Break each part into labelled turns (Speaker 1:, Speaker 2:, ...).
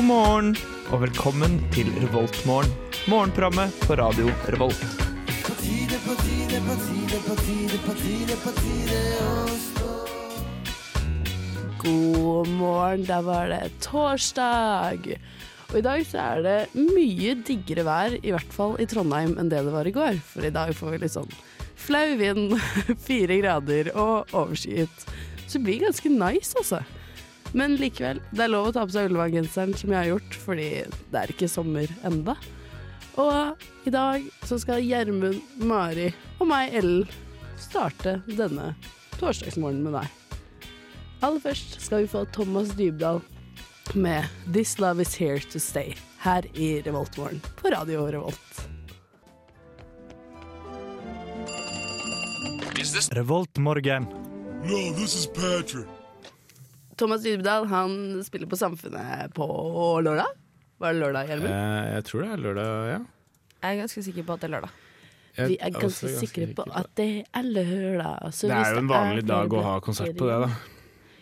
Speaker 1: morgen og velkommen til Revoltmorgen. Morgenprogrammet på radio Revolt.
Speaker 2: God morgen, der var det torsdag. Og i dag så er det mye diggere vær, i hvert fall i Trondheim, enn det det var i går. For i dag får vi litt sånn flau vind, fire grader og overskyet. Så det blir ganske nice, altså. Men likevel, det er lov å ta på seg Ullevål-genseren, som jeg har gjort, fordi det er ikke sommer enda. Og i dag så skal Gjermund, Mari og meg, Ellen, starte denne torsdagsmorgenen med deg. Aller først skal vi få Thomas Dybdahl med 'This Love Is Here To Stay' her i Revoltmorgen på Radio Revolt.
Speaker 1: Revoltmorgen.
Speaker 3: No, this is Patrick.
Speaker 2: Thomas Dybdahl han spiller på Samfunnet på lørdag. Var det lørdag, Gjermund?
Speaker 4: Eh, jeg tror det er lørdag, ja.
Speaker 5: Jeg er ganske sikker på at det er lørdag.
Speaker 4: Jeg
Speaker 2: Vi er
Speaker 4: også
Speaker 2: ganske sikre på at det er lørdag. Så
Speaker 4: Det
Speaker 2: hvis
Speaker 4: er jo en vanlig
Speaker 2: flere
Speaker 4: dag å ha konsert på det, da.
Speaker 2: billetter-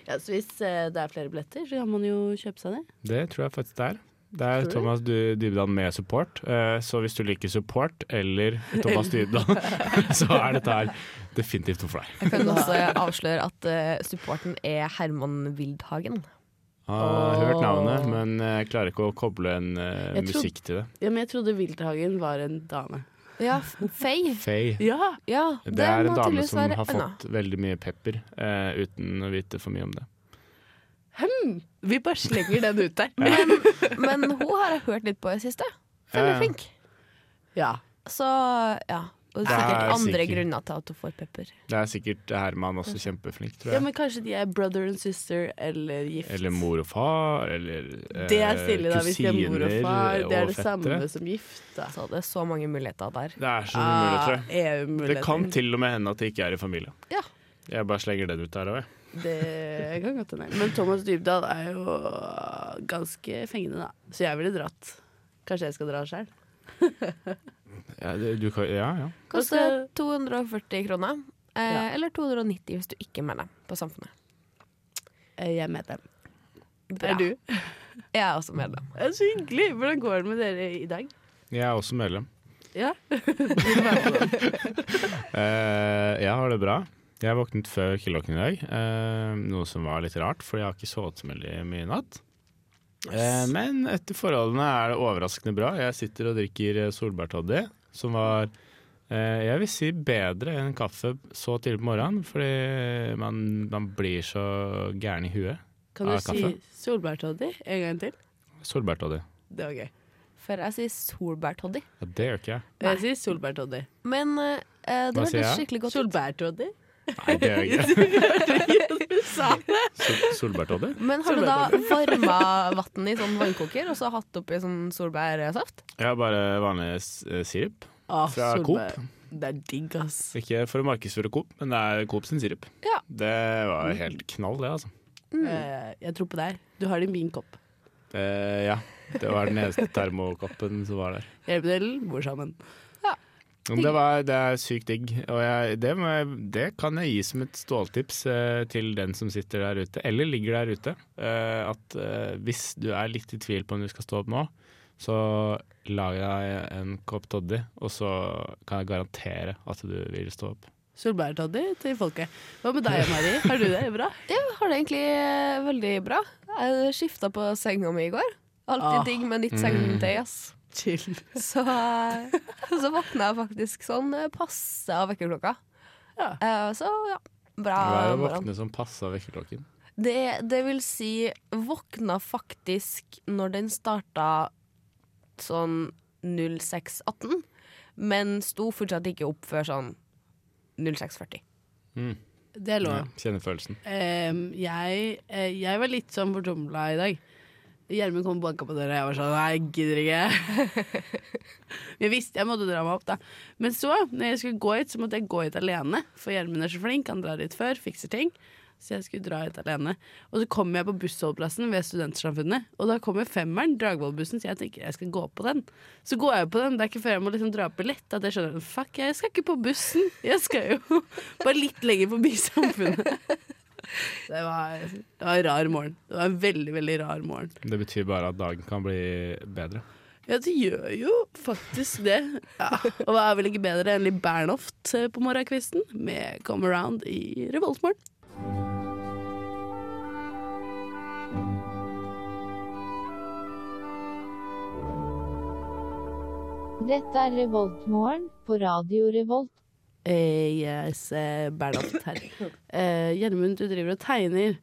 Speaker 2: Ja, så Hvis eh, det er flere billetter, så kan man jo kjøpe seg det.
Speaker 4: Det tror jeg faktisk det er. Det er
Speaker 2: Tror du?
Speaker 4: Thomas Dy- Dybdahl med support, eh, så hvis du liker support eller Thomas Dybdahl, så er dette her definitivt noe for deg.
Speaker 5: Jeg kan også avsløre at eh, supporten er Herman Wildhagen.
Speaker 4: Jeg har hørt navnet, men jeg klarer ikke å koble en eh,
Speaker 2: Jeg tror-
Speaker 4: musikk til det.
Speaker 2: Ja, men jeg trodde Wildhagen var en dame.
Speaker 5: Ja, Faye.
Speaker 4: Faye.
Speaker 2: Ja!
Speaker 5: Ja,
Speaker 4: Det, er
Speaker 5: må
Speaker 4: en dame
Speaker 5: tydeligvis
Speaker 4: som
Speaker 5: være
Speaker 4: har
Speaker 5: Anna.
Speaker 4: fått veldig mye pepper eh, uten å vite for mye om det.
Speaker 2: Vi bare slenger den ut der.
Speaker 5: Men hun har jeg hørt litt på i det siste. Veldig
Speaker 4: Ja, ja.
Speaker 5: flink.
Speaker 2: Ja.
Speaker 5: Så ja. Og
Speaker 4: Det er
Speaker 5: sikkert andre
Speaker 4: sikkert.
Speaker 5: grunner til at hun får pepper.
Speaker 4: Det er sikkert Herman også kjempeflink, tror
Speaker 2: ja,
Speaker 4: jeg.
Speaker 2: men kanskje de er brother and sister eller gift.
Speaker 4: Eller mor og far, eller eh,
Speaker 2: Det er stille, da, hvis de er mor og
Speaker 4: kusiner eh,
Speaker 2: far. Det er
Speaker 4: og
Speaker 2: det
Speaker 4: fettere.
Speaker 2: samme som gift, da.
Speaker 5: Så det er så mange muligheter der.
Speaker 4: Det er så
Speaker 2: Ah,
Speaker 4: mye muligheter. det.
Speaker 2: EU-muligheter.
Speaker 4: Det kan til og med hende at det ikke er i familie.
Speaker 5: Ja.
Speaker 4: Jeg bare slenger den ut der òg, jeg.
Speaker 2: Det kan godt hende. Men Thomas Dybdahl er jo ganske fengende, da. Så jeg ville dratt. Kanskje jeg skal dra sjøl.
Speaker 4: Ja, det- du kan- ja, ja.
Speaker 5: Koster 240 kroner. Eh,
Speaker 2: Ja.
Speaker 5: Eller 290 hvis du ikke er med deg på Samfunnet.
Speaker 2: Eh, Jeg er medlem.
Speaker 5: Bra.
Speaker 2: Er du?
Speaker 5: Jeg er også medlem.
Speaker 2: Det er så hyggelig! Hvordan går det med dere i dag?
Speaker 4: Jeg er også medlem.
Speaker 2: Ja.
Speaker 4: Eh, jeg har det bra. Jeg våknet før killokken i dag, eh, noe som var litt rart, for jeg har ikke sovet så veldig mye i natt. Eh, men etter forholdene er det overraskende bra. Jeg sitter og drikker eh, solbærtoddy, som var eh, jeg vil si bedre enn kaffe så tidlig på morgenen, fordi man, man blir så gæren i huet.
Speaker 2: Kan du
Speaker 4: Ah,
Speaker 2: si
Speaker 4: kaffe.
Speaker 2: solbærtoddy en gang til?
Speaker 4: Solbærtoddy.
Speaker 2: Det var gøy.
Speaker 5: For jeg sier solbærtoddy.
Speaker 4: Ja, det gjør ikke jeg.
Speaker 2: Jeg sier solbærtoddy.
Speaker 5: Men eh,
Speaker 4: Hva
Speaker 5: det
Speaker 4: sier
Speaker 5: hørtes
Speaker 4: jeg?
Speaker 5: skikkelig godt ut.
Speaker 2: Solbærtoddy?
Speaker 4: Nei, det gjør jeg ikke.
Speaker 2: Du sa det!
Speaker 4: Sol Solbærtoddy?
Speaker 5: Men har du da varma vann i sånn vannkoker og så hatt oppi sånn solbærsaft?
Speaker 4: Jeg har bare vanlig s- eh, sirup.
Speaker 2: Ah,
Speaker 4: Fra
Speaker 2: solbær- Det er digg, ass.
Speaker 4: Ikke for å markedsføre Coop, men det er Coop sin sirup.
Speaker 5: Ja.
Speaker 4: Det var helt knall, det, altså.
Speaker 2: Eh, jeg tror på deg. Du har det i min kopp.
Speaker 4: Eh, ja. Det var den eneste termokoppen som var der.
Speaker 2: Hjelpedelen bor sammen.
Speaker 4: Men det, var, det er sykt digg. Og jeg, det, må jeg, det kan jeg gi som et ståltips eh, til den som sitter der ute, eller ligger der ute. Eh, at eh, hvis du er litt i tvil på om du skal stå opp nå, så lag deg en kopp toddy, og så kan jeg garantere at du vil stå opp.
Speaker 2: Solbærtoddy til folket. Hva med deg, Mari? Har du det bra?
Speaker 5: Jeg har det egentlig eh, veldig bra. Jeg skifta på senga mi i går. Alltid
Speaker 2: Ah.
Speaker 5: digg med nytt
Speaker 4: Mm.
Speaker 5: sengetøy, ass.
Speaker 2: Chill.
Speaker 5: Så, eh, så våkna jeg faktisk sånn eh, passe av vekkerklokka.
Speaker 2: Ja.
Speaker 5: Eh, Så ja, bra
Speaker 4: Det var jo
Speaker 5: morgen.
Speaker 4: voktene som passa vekkerklokken.
Speaker 5: Det, det vil si, våkna faktisk når den starta sånn 06.18, men sto fortsatt ikke opp før sånn 06.40.
Speaker 2: Det er lov.
Speaker 4: Ja, kjenner følelsen.
Speaker 2: Em, jeg, eh, jeg var litt sånn fortumla i dag. Gjermund kom og banka på døra, og jeg var sånn Nei, jeg gidder ikke. jeg visste jeg måtte dra meg opp, da. Men så, når jeg skulle gå hit, så måtte jeg gå hit alene. For Gjermund er så flink, han drar hit før, fikser ting. Så jeg skulle dra hit alene. Og så kommer jeg på bussholdeplassen ved Studentsamfunnet. Og da kommer femmeren, Dragvollbussen, så jeg tenker jeg skal gå på den. Så går jeg på den. Det er ikke før jeg må liksom dra opp billett at jeg skjønner Fuck, jeg skal ikke på bussen. Jeg skal jo bare litt lenger forbi samfunnet. Det var, det var en rar morgen. Det var en veldig, veldig rar morgen.
Speaker 4: Det betyr bare at dagen kan bli bedre.
Speaker 2: Ja, det gjør jo faktisk det. Ja. Og hva er vel ikke bedre enn litt Bernhoft eh, på morgenkvisten med Come Around i Revoltmorgen.
Speaker 6: Dette er Revoltmorgen på Radio Revolt.
Speaker 2: Eh, yes, eh, Bernhoft her. Eh, Gjermund, du driver og tegner.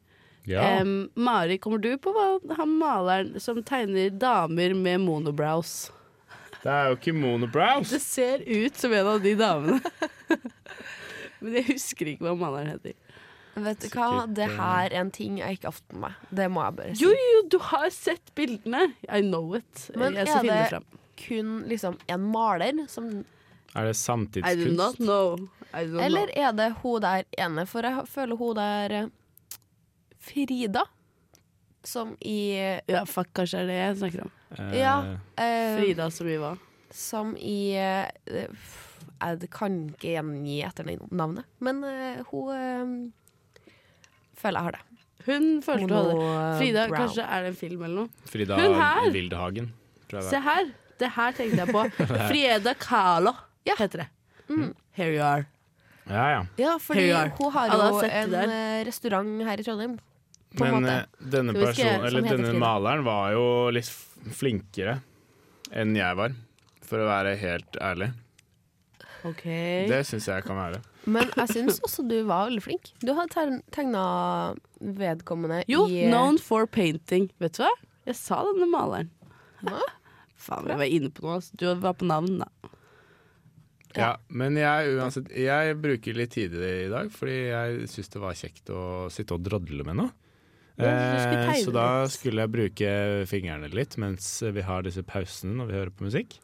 Speaker 2: Em, Mari, kommer du på hva han maleren som tegner damer med monobrows?
Speaker 4: Det er jo ikke monobrows!
Speaker 2: Det ser ut som en av de damene. Men jeg husker ikke hva maleren heter.
Speaker 5: Vet du hva,
Speaker 4: Sikkert,
Speaker 5: det her er en ting jeg ikke har fått med meg. Det må jeg bare si.
Speaker 2: Jo, jo, du har sett bildene. I know it.
Speaker 5: Men
Speaker 2: jeg skal
Speaker 5: er
Speaker 2: finne
Speaker 5: det-
Speaker 2: det fram.
Speaker 5: Kun liksom en maler som
Speaker 4: Er det
Speaker 2: I do not
Speaker 4: samtidskunst?
Speaker 2: know. I do not
Speaker 5: Eller er det hun der ene? For jeg føler hun der eh, Frida. Som i
Speaker 2: know. Ja, fuck, kanskje er det jeg snakker om.
Speaker 4: Eh,
Speaker 5: Ja. eh,
Speaker 2: Frida så mye hva.
Speaker 5: Som i eh, f- Jeg kan ikke gjengi etternavnet, men eh, hun eh, føler jeg har det.
Speaker 2: Hun følte hun hadde
Speaker 5: Mono-
Speaker 2: Frida,
Speaker 5: eh, brown.
Speaker 2: kanskje er det en film eller noe.
Speaker 4: Frida
Speaker 2: Hun her!
Speaker 4: Wildhagen, tror jeg det
Speaker 2: Se her! Det her tenkte jeg på. Frida Kahlo heter det. Here you are.
Speaker 4: er. Ja, ja.
Speaker 5: Ja, fordi
Speaker 2: Here you are.
Speaker 5: hun har
Speaker 2: Alle har
Speaker 5: jo
Speaker 2: sett det
Speaker 5: en
Speaker 2: der.
Speaker 5: eh, restaurant her i Trondheim. På en
Speaker 4: Men
Speaker 5: måte.
Speaker 4: eh, denne,
Speaker 5: Skal vi skrive
Speaker 4: personen,
Speaker 5: som
Speaker 4: eller
Speaker 5: heter
Speaker 4: denne
Speaker 5: Frida?
Speaker 4: maleren var jo litt f- flinkere enn jeg var, for å være helt ærlig.
Speaker 2: OK.
Speaker 4: Det syns jeg kan være.
Speaker 5: Men jeg syns også du var veldig flink. Du hadde tegna vedkommende
Speaker 2: Jo,
Speaker 5: i eh,
Speaker 2: known for painting. Vet du hva? Jeg sa denne maleren. Faen, jeg var inne på noe. ass. Du var på navn, da.
Speaker 4: Ja, men jeg, uansett, jeg bruker litt tid i det i dag, fordi jeg syns det var kjekt å sitte og drodle med noe.
Speaker 2: du skulle
Speaker 4: Eh,
Speaker 2: tegne
Speaker 4: Så da
Speaker 2: litt.
Speaker 4: skulle jeg bruke fingrene litt mens vi har disse pausene når vi hører på musikk.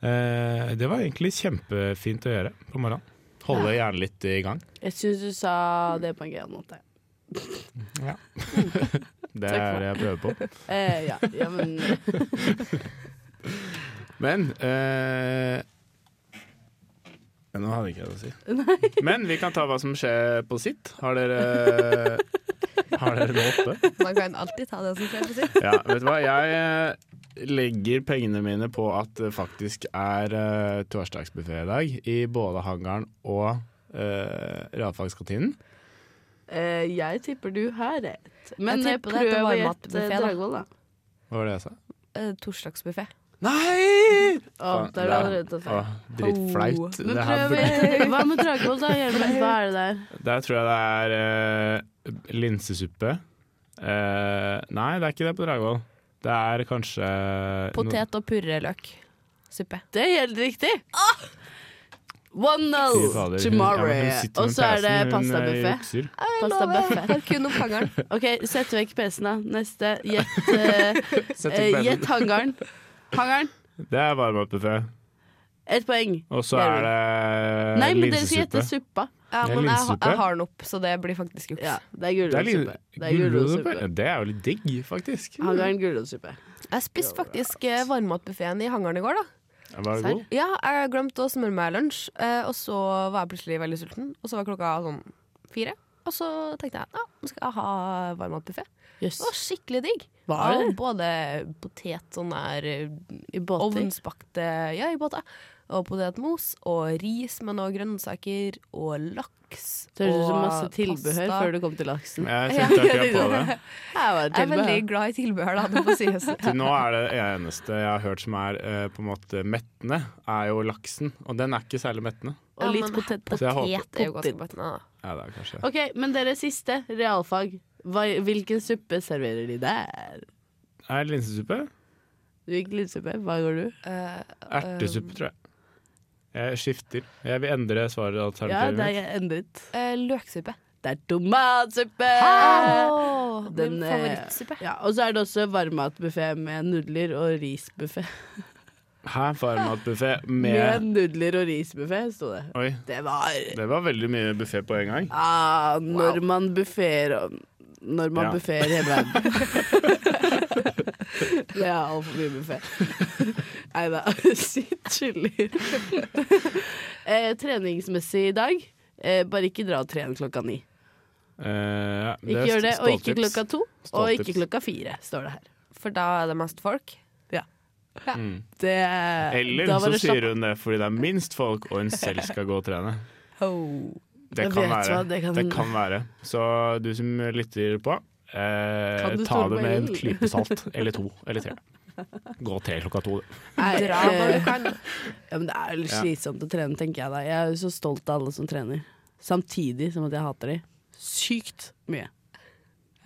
Speaker 4: Eh, Det var egentlig kjempefint å gjøre på morgenen. Holde hjernen litt i gang.
Speaker 2: Jeg syns du sa det på en gøyal måte.
Speaker 4: Det er det jeg prøver på.
Speaker 2: Eh, ja, ja, men
Speaker 4: Men eh, ja, Nå hadde jeg ikke det å si. Men vi kan ta hva som skjer på sitt. Har dere Har dere noe oppe?
Speaker 5: Man kan alltid ta det som skjer. for å si.
Speaker 4: Ja, vet du hva. Jeg eh, legger pengene mine på at det faktisk er uh, torsdagsbuffé i dag. I både hangaren og uh, realfagskantinen.
Speaker 2: eh, jeg tipper du har rett. Men
Speaker 5: Jeg
Speaker 2: jeg
Speaker 5: tipper det er
Speaker 2: prøv å
Speaker 5: varmmatbuffé,
Speaker 2: gjette
Speaker 5: da.
Speaker 2: Dragvoll, da.
Speaker 4: Hva var det jeg sa?
Speaker 5: Eh, Torsdagsbuffé.
Speaker 4: Nei!
Speaker 2: Å, det er det allerede tatt.
Speaker 4: Åh, Dritflaut.
Speaker 2: Men
Speaker 4: Det her
Speaker 2: prøv å
Speaker 4: burde-
Speaker 2: gjette. Hva med Dragvoll, da? Hjelmen, hva er det der?
Speaker 4: Der tror jeg det er eh, linsesuppe. Eh, nei, det er ikke det på Dragvoll. Det er kanskje
Speaker 5: Potet- og purreløksuppe.
Speaker 2: Det er helt riktig. Ah! One
Speaker 4: Fy
Speaker 2: nil
Speaker 4: fader, hun-
Speaker 2: tomorrow.
Speaker 4: ja, men hun sitter
Speaker 2: Og
Speaker 4: med
Speaker 2: så er det
Speaker 4: pesen, hun, eh,
Speaker 2: pastabuffé.
Speaker 4: jukser.
Speaker 2: Pasta buffet.
Speaker 5: Har kun opp hangaren.
Speaker 2: OK, sett vekk PC-en, da. Neste. Gjett eh,
Speaker 4: Setter
Speaker 2: eh,
Speaker 4: pesen.
Speaker 2: gjett hangaren. Hangaren.
Speaker 4: Det er varmmatbuffé.
Speaker 2: Ett poeng.
Speaker 4: Og så er det
Speaker 2: Nei, men dere skal gjette
Speaker 4: linsesuppe.
Speaker 2: suppa.
Speaker 5: Ja,
Speaker 4: Det er
Speaker 5: men jeg, har-
Speaker 4: linsesuppe.
Speaker 5: jeg har den opp, så det blir faktisk juks.
Speaker 2: Ja, det er
Speaker 4: Det er lin-
Speaker 2: gulrotsuppe. Det er
Speaker 4: Gulrotsuppe?
Speaker 2: gulrotsuppe.
Speaker 4: Det er jo litt digg, faktisk.
Speaker 2: Hangaren gulrotsuppe.
Speaker 5: Jeg spiste faktisk eh, varmmatbuffeen i hangaren i går, da.
Speaker 4: Var det god?
Speaker 5: Ja, jeg glemte å smøre meg lunsj, eh, og så var jeg plutselig veldig sulten. Og så var klokka sånn fire, og så tenkte jeg ja, nå skal jeg ha varmmatbuffé.
Speaker 2: Jøss.
Speaker 5: Det var skikkelig digg.
Speaker 2: Var det?
Speaker 5: Av både potet sånn der eh,
Speaker 2: I båter.
Speaker 5: ovnsbakte ja, i båter. Og potetmos og ris med noe grønnsaker og laks.
Speaker 2: Det høres ut som
Speaker 5: og
Speaker 2: masse tilbehør
Speaker 5: pasta.
Speaker 2: før du kom til laksen.
Speaker 4: Jeg
Speaker 5: Ja,
Speaker 4: tenkte
Speaker 5: jeg
Speaker 4: akkurat på det.
Speaker 2: Her var det
Speaker 5: Jeg er veldig
Speaker 2: tilbehør.
Speaker 5: glad i tilbehør, da. Det må sies.
Speaker 4: Til nå er det eneste jeg har hørt som er eh, på en måte mettende, er jo laksen. Og den er ikke særlig mettende.
Speaker 2: Og
Speaker 5: Ja,
Speaker 2: litt
Speaker 5: men
Speaker 2: potet.
Speaker 4: Så jeg håper-
Speaker 5: Potet er jo ganske
Speaker 2: potet.
Speaker 5: godt. Nei, da.
Speaker 4: Ja, det er kanskje
Speaker 2: OK, men dere siste. Realfag. Hva, hvilken suppe serverer de der?
Speaker 4: Er det linsesuppe?
Speaker 2: Du gikk linsesuppe. Hva går du?
Speaker 5: Eh,
Speaker 4: Ertesuppe, tror jeg. Jeg skifter. Jeg vil endre svaret
Speaker 2: Ja,
Speaker 4: alternativet
Speaker 2: det er
Speaker 4: mitt.
Speaker 2: jeg endret.
Speaker 5: eh, løksuppe.
Speaker 2: Det er tomatsuppe!
Speaker 5: Åh, Ah!
Speaker 2: Den,
Speaker 5: min
Speaker 2: eh,
Speaker 5: favorittsuppe.
Speaker 2: Ja, og så er det også varmmatbuffé med nudler og risbuffé.
Speaker 4: Her varmmatbuffé
Speaker 2: Med
Speaker 4: med
Speaker 2: nudler og risbuffé, sto det.
Speaker 4: Oi,
Speaker 2: Det var
Speaker 4: det var veldig mye buffé på en gang.
Speaker 2: ah, Når man buffer Når man
Speaker 4: Ja.
Speaker 2: buffer hele verden. det er altfor mye buffé. Nei da, sitt chiller. eh, treningsmessig i dag, eh, bare ikke dra og tren klokka ni.
Speaker 4: Eh, ja,
Speaker 2: Ikke
Speaker 4: er
Speaker 2: gjør det, og ikke
Speaker 4: ståltips.
Speaker 2: klokka to, og
Speaker 4: Ståltips.
Speaker 2: ikke klokka fire, står det her.
Speaker 5: For da er det mest folk.
Speaker 2: Det,
Speaker 4: Eller
Speaker 2: da var
Speaker 4: så
Speaker 2: det slapp-
Speaker 4: sier hun det fordi det er minst folk, og hun selv skal gå og trene. Det
Speaker 2: Jeg
Speaker 4: kan
Speaker 2: vet
Speaker 4: være.
Speaker 2: hva det kan-
Speaker 4: være. Så du som lytter på, eh,
Speaker 2: Kan du
Speaker 4: ta
Speaker 2: stole
Speaker 4: det
Speaker 2: på
Speaker 4: med en
Speaker 2: Ellen?
Speaker 4: klype salt. Eller to. Eller tre. Gå tre klokka to. du.
Speaker 2: Nei,
Speaker 5: Dra når du
Speaker 2: eh,
Speaker 5: kan.
Speaker 2: ja, men det er jo litt
Speaker 4: Ja.
Speaker 2: slitsomt å trene, tenker jeg da. Jeg er jo så stolt av alle som trener. Samtidig som at jeg hater de sykt mye.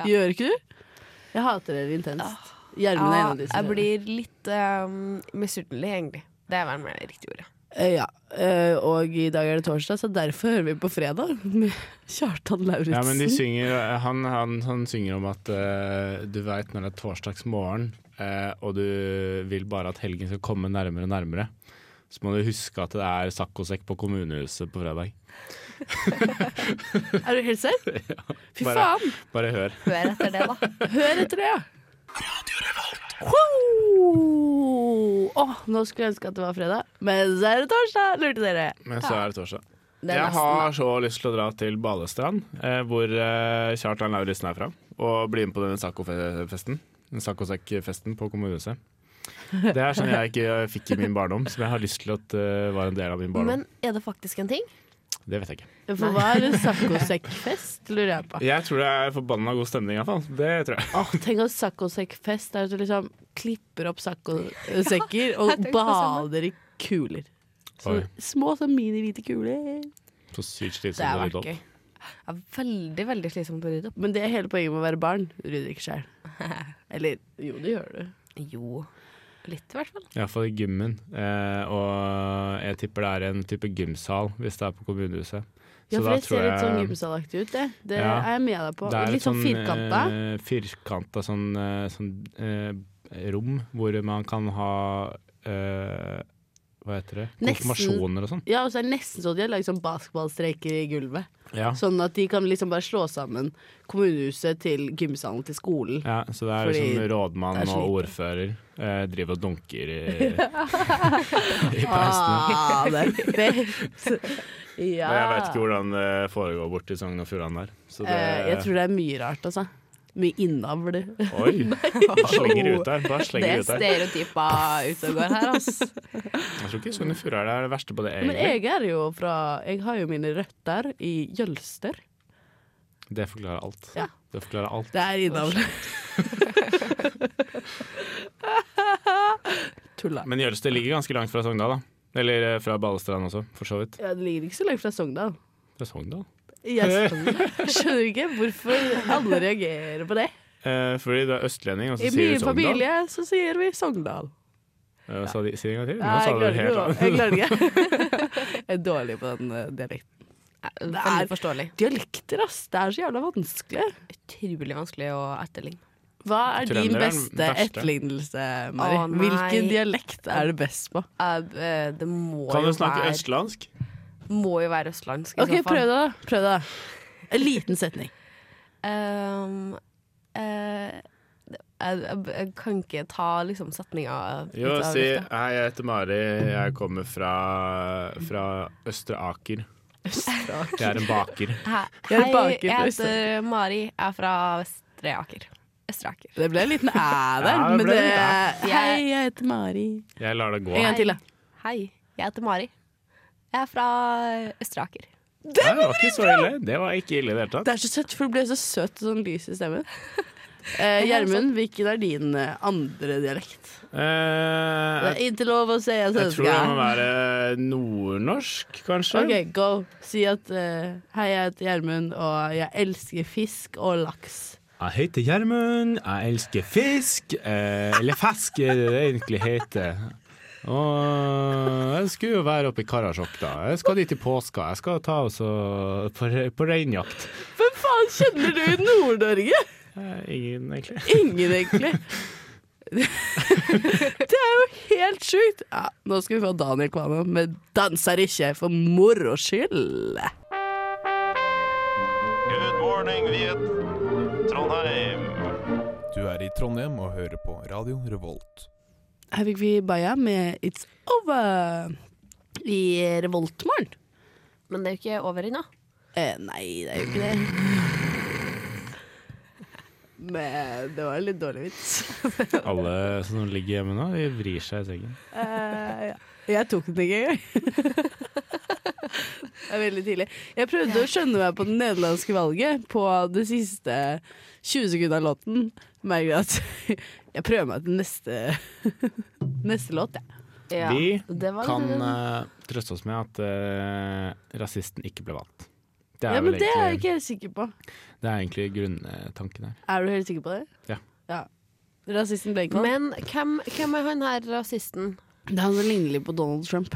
Speaker 5: Ja.
Speaker 2: Gjør ikke du? Jeg hater dere intenst. Gjermund er en
Speaker 5: Ja,
Speaker 2: av de som
Speaker 5: jeg
Speaker 2: trener.
Speaker 5: blir litt um, misunnelig, egentlig. Det er vel mer det riktige ordet.
Speaker 2: Eh, Ja, eh, og i dag er det torsdag, så derfor hører vi på fredag med Kjartan Lauritzen.
Speaker 4: Ja, men de synger, eh, han, han, han synger om at eh, du veit når det er torsdags morgen, eh, og du vil bare at helgen skal komme nærmere og nærmere. Så må du huske at det er saccosekk på kommunehuset på fredag.
Speaker 2: Er du helt serr? Fy
Speaker 4: bare-
Speaker 2: faen!
Speaker 4: Bare hør.
Speaker 5: Hør etter det, da.
Speaker 2: Hør etter det, ja! Wow! Åh, nå skulle jeg ønske at det var fredag, men så er det torsdag, lurte dere.
Speaker 4: Men så er det torsdag.
Speaker 5: Det er
Speaker 4: jeg
Speaker 5: nesten,
Speaker 4: har så lyst til å dra til Balestrand, eh, hvor eh, Kjartan Lauritzen er fra, og bli med på denne saccofe-festen. Den Saccosekk-festen på kommunehuset. Det er sånn jeg ikke fikk i min barndom, som jeg har lyst til at eh, var en del av min barndom.
Speaker 5: Men er det faktisk en ting?
Speaker 4: det vet jeg ikke.
Speaker 2: For hva er en saccosekkfest, lurer jeg på.
Speaker 4: Jeg tror det er forbanna god stemning, iallfall. Det tror jeg.
Speaker 2: Åh, tenk at saccosekkfest er at du liksom klipper opp saccosekker og
Speaker 5: tenkte det samme.
Speaker 2: bader i kuler. Så,
Speaker 4: Oi.
Speaker 2: små sånn mini-hvite kuler.
Speaker 4: Så sykt
Speaker 5: Det
Speaker 4: slitsomt
Speaker 5: har
Speaker 4: å
Speaker 5: vært
Speaker 4: rydde
Speaker 5: gøy.
Speaker 4: opp.
Speaker 5: Det er veldig, veldig slitsomt å rydde opp.
Speaker 2: Men det er hele poenget med å være barn. Du rydder ikke sjøl. Eller jo, det gjør du.
Speaker 5: Jo. Litt, i hvert fall.
Speaker 4: Iallfall i gymmen. Eh, og jeg tipper det er en type gymsal, hvis det er på kommunehuset.
Speaker 2: Ja,
Speaker 4: Så
Speaker 2: for
Speaker 4: da
Speaker 2: det
Speaker 4: tror
Speaker 2: ser litt sånn
Speaker 4: jeg-
Speaker 2: gymsalaktig ut, det. Det
Speaker 4: Ja.
Speaker 2: er jeg med deg på.
Speaker 4: Det er
Speaker 2: Litt sånn firkanta.
Speaker 4: eh, firkanta sånn, eh, sånn eh, rom hvor man kan ha eh, Hva heter det?
Speaker 2: Nesten.
Speaker 4: Konfirmasjoner og sånn.
Speaker 2: Ja, og så er det nesten sånn de har lagd sånn basketballstreker i gulvet.
Speaker 4: Ja.
Speaker 2: Sånn at de kan liksom bare slå sammen kommunehuset til gymsalen til skolen.
Speaker 4: ja, så det er
Speaker 2: Fordi
Speaker 4: liksom rådmann
Speaker 2: det er så
Speaker 4: og
Speaker 2: lite.
Speaker 4: ordfører eh, driver og dunker i, i peisene.
Speaker 2: Ah, det er fett! Ja.
Speaker 4: Men jeg vet ikke hvordan det foregår borti Sogn og Fjordane der. Så det
Speaker 2: Eh, jeg tror det er mye rart, altså. Mye innavl.
Speaker 4: Oi! Bare slenger det ut der. Bare
Speaker 5: Det
Speaker 4: slenger det
Speaker 5: er
Speaker 4: ut der.
Speaker 5: stereotyper ute og går her, altså.
Speaker 4: Jeg tror ikke Sogn og Fjordane er det verste på det,
Speaker 2: Men
Speaker 4: egentlig.
Speaker 2: jeg er jo fra Jeg har jo mine røtter i Jølster.
Speaker 4: Det forklarer alt.
Speaker 2: Ja.
Speaker 4: Det forklarer alt.
Speaker 2: Det er innavl. Tulla.
Speaker 4: Men Jølster ligger ganske langt fra Sogndal, da. Eller eh, fra Balestrand også, for så vidt.
Speaker 2: Ja, det ligger ikke så langt fra Sogndal.
Speaker 4: Fra Sogndal?
Speaker 2: Jeg skjønner ikke hvorfor alle reagerer på det.
Speaker 4: Eh, fordi du er østlending, og så
Speaker 2: I
Speaker 4: sier
Speaker 2: min
Speaker 4: du Sogndal.
Speaker 2: familie så sier vi Sogndal.
Speaker 4: Eh, og så de- sier de en gang til. Nå
Speaker 2: Nei,
Speaker 4: sa
Speaker 2: jeg
Speaker 4: du det
Speaker 2: klarer
Speaker 4: helt
Speaker 2: ikke å-
Speaker 4: annet.
Speaker 2: jeg klarer ikke. Jeg er dårlig på den eh, dialekten.
Speaker 5: Veldig forståelig.
Speaker 2: Dialekter, ass! Det er så jævla vanskelig.
Speaker 5: Utrolig vanskelig å etterligne.
Speaker 2: Hva er din
Speaker 4: Trønder er den
Speaker 2: beste
Speaker 4: verste.
Speaker 2: etterlignelse, Mari?
Speaker 5: Å, nei.
Speaker 2: Hvilken dialekt er det best på?
Speaker 5: Eh, eh, det må
Speaker 4: Kan
Speaker 5: jo
Speaker 4: du snakke
Speaker 5: være,
Speaker 4: østlandsk?
Speaker 5: må jo være østlandsk.
Speaker 2: OK, prøv det, da. Prøv det. da. En liten setning.
Speaker 5: Ehm, eh, jeg, jeg, jeg kan ikke ta liksom setninga ut
Speaker 4: Jo,
Speaker 5: av
Speaker 4: si
Speaker 5: lufta.
Speaker 4: hei, jeg heter Mari, jeg kommer fra, fra Østre Aker. Jeg er en baker.
Speaker 5: Hei,
Speaker 2: Jeg er
Speaker 5: hei,
Speaker 2: tilbake til
Speaker 5: jeg
Speaker 2: Østre.
Speaker 5: heter Mari. Jeg er fra Vestre Aker. Østre Aker.
Speaker 2: Det ble en liten æ der,
Speaker 4: Ja, det
Speaker 2: men
Speaker 4: ble
Speaker 2: det
Speaker 4: litt
Speaker 2: Hei, jeg heter Mari.
Speaker 4: Jeg lar det gå.
Speaker 2: En gang til, da.
Speaker 5: Hei, jeg heter Mari. Jeg er fra Østre Aker.
Speaker 4: Det var ikke så ille. Det var ikke ille i det hele tatt.
Speaker 2: Det er så søtt, for det ble så søt og sånn lys i stemmen. Eh, Gjermund, hvilken er din eh, andre dialekt? Det
Speaker 4: Eh,
Speaker 2: er ikke lov å si at
Speaker 4: jeg tror det må
Speaker 2: svenska.
Speaker 4: være nordnorsk, kanskje.
Speaker 2: OK, go. Si at eh, hei, jeg heter Gjermund, og jeg elsker fisk og laks.
Speaker 4: Jeg heter Gjermund, jeg elsker fisk. Eh, eller fisk, er det det egentlig heter. Og jeg skulle jo være oppe i Karasjok, da. Jeg skal dit i påska. Jeg skal ta oss og- på, re- på reinjakt.
Speaker 2: Hvem faen kjenner du i Nord-Norge?
Speaker 4: Eh, ingen, egentlig.
Speaker 2: Ingen, egentlig. Det er jo helt sjukt! Ja, nå skal vi få Daniel Kvammen med 'Danser ikke for moro skyld'.
Speaker 7: Good morning, Viet. Trondheim.
Speaker 8: Du er i Trondheim og hører på Radio Revolt.
Speaker 2: Her fikk vi Baya med 'It's Over' i Revoltmorgen.
Speaker 5: Men det er jo ikke over ennå.
Speaker 2: Eh, nei, det er jo ikke det. Men det var en litt dårlig vits.
Speaker 4: Alle som ligger hjemme nå, de vrir seg i sengen.
Speaker 2: Eh, ja. Jeg tok den ikke engang. det er veldig tidlig. Jeg prøvde å skjønne meg på det nederlandske valget på det siste 20 sekundene av låten. Merker at jeg prøver meg til neste, neste låt, jeg.
Speaker 5: Ja,
Speaker 4: Vi
Speaker 5: det var
Speaker 4: Kan
Speaker 5: litt-
Speaker 4: eh, trøste oss med at eh, rasisten ikke ble valgt. Det
Speaker 2: Ja.
Speaker 4: er,
Speaker 2: men
Speaker 4: vel
Speaker 2: det er jeg
Speaker 4: egentlig,
Speaker 2: ikke helt sikker på.
Speaker 4: det er egentlig grunntanken her.
Speaker 2: Er du helt sikker på det?
Speaker 4: Ja.
Speaker 2: Rasisten ble ikke valgt.
Speaker 5: Men hvem, hvem er han her rasisten?
Speaker 2: Det er han som ligner litt på Donald Trump.